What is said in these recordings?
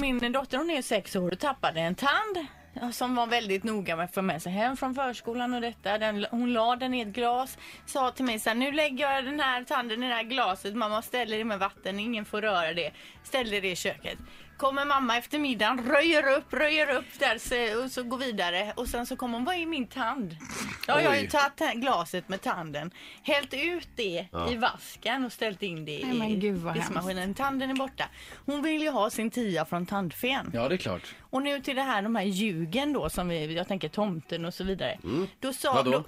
Min dotter hon är sex år och tappade en tand som var väldigt noga med att få med sig hem från förskolan och detta. Den, hon la den i ett glas, sa till mig så här, nu lägger jag den här tanden i det här glaset, mamma ställer det med vatten, ingen får röra det. Ställer det i köket. Kommer mamma efter middagen, röjer upp, röjer upp där så, och så går vidare. Och sen så kommer hon, vad är min tand? Då har jag ju Oj. tagit ta- glaset med tanden, hällt ut det i vasken och ställt in det Nej, men i gud, vad diskmaskinen. Tanden är borta. Hon vill ju ha sin tia från tandfen. Ja, det är klart. Och nu till det här, de här ljugen då som vi, jag tänker tomten och så vidare. Då sa, Mm. Vadå? Då,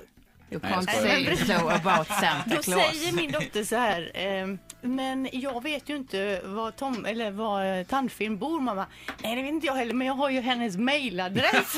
You Nej, jag can't skojar. say so about Santa då säger Claus. min dotter så här, ehm, men jag vet ju inte var, Tom, eller var eh, tandfilm bor mamma. Nej det vet inte jag heller men jag har ju hennes mailadress.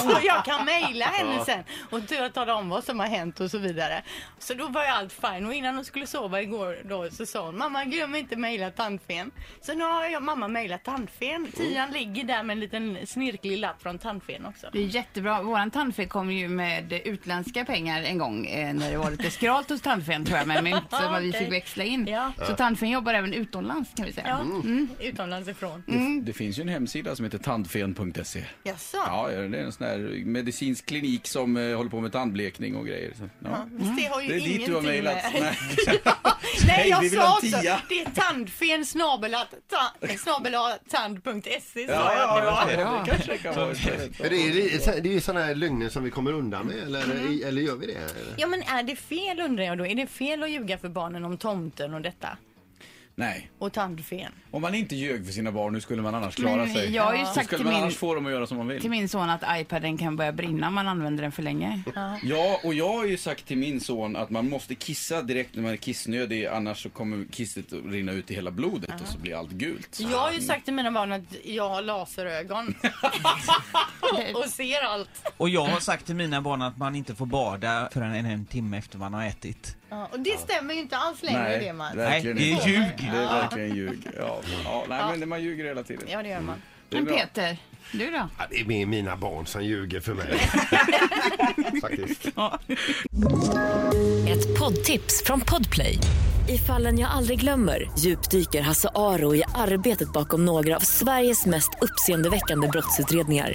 så jag kan mejla henne sen och t- tala om vad som har hänt och så vidare. Så då var ju allt fine och innan hon skulle sova igår då så sa hon mamma glöm inte mejla tandfen. Så nu har jag mamma mejlat tandfen. Tian ligger där med en liten snirklig lapp från tandfen också. Det är jättebra. Våran tandfen kom ju med utländska pengar en gång eh, när det var lite skralt hos tandfen tror jag med mynt som vi Okej. fick växla in. Ja. Så tandfen jobbar även utomlands kan vi säga. Ja, Mm. utomlands ifrån. Det, det finns ju en hemsida som heter tandfen.se. Jaså? Ja, det är en sån här medicinsk klinik som eh, håller på med tandblekning och grejer. Så, ja. Fast Det har ju Det är dit du har ingenting mejlat. med- Nej. Nej, Hej, vi jag vill sa ha en också. tia. Det är tandfen snabelat- ta- snabelat tand.se sa Ja, jag att det var. ja, ja, det kanske det kan vara. Är det, är det, det är ju sådana här lögner som vi kommer undan med eller, eller gör vi det? Eller? Ja men är det fel undrar jag då? Är det fel att ljuga för barnen om tomten och detta? Nej, Och tandfen? om man inte ljög för sina barn, hur skulle man annars klara Men sig? jag har ju Hur sagt skulle till man min, annars få dem att göra som man vill? till min son att iPaden kan börja brinna om man använder den för länge. Ja, och jag har ju sagt till min son att man måste kissa direkt när man är kissnödig annars så kommer kisset att rinna ut i hela blodet och så blir allt gult. Jag har ju sagt till mina barn att jag har laserögon. och ser allt. Och jag har sagt till mina barn att man inte får bada förrän en, en timme efter man har ätit. Ja, och det stämmer ju inte alls längre det man. verkligen Nej, det är inte. ljug. Det är verkligen ljug. Ja, ja, nej, men man ljuger hela tiden. Ja det gör man. Det är Men bra. Peter, du då? Ja, det är mer mina barn som ljuger för mig. Faktiskt. Ett poddtips från Podplay. I fallen jag aldrig glömmer djupdyker Hasse Aro i arbetet bakom några av Sveriges mest uppseendeväckande brottsutredningar.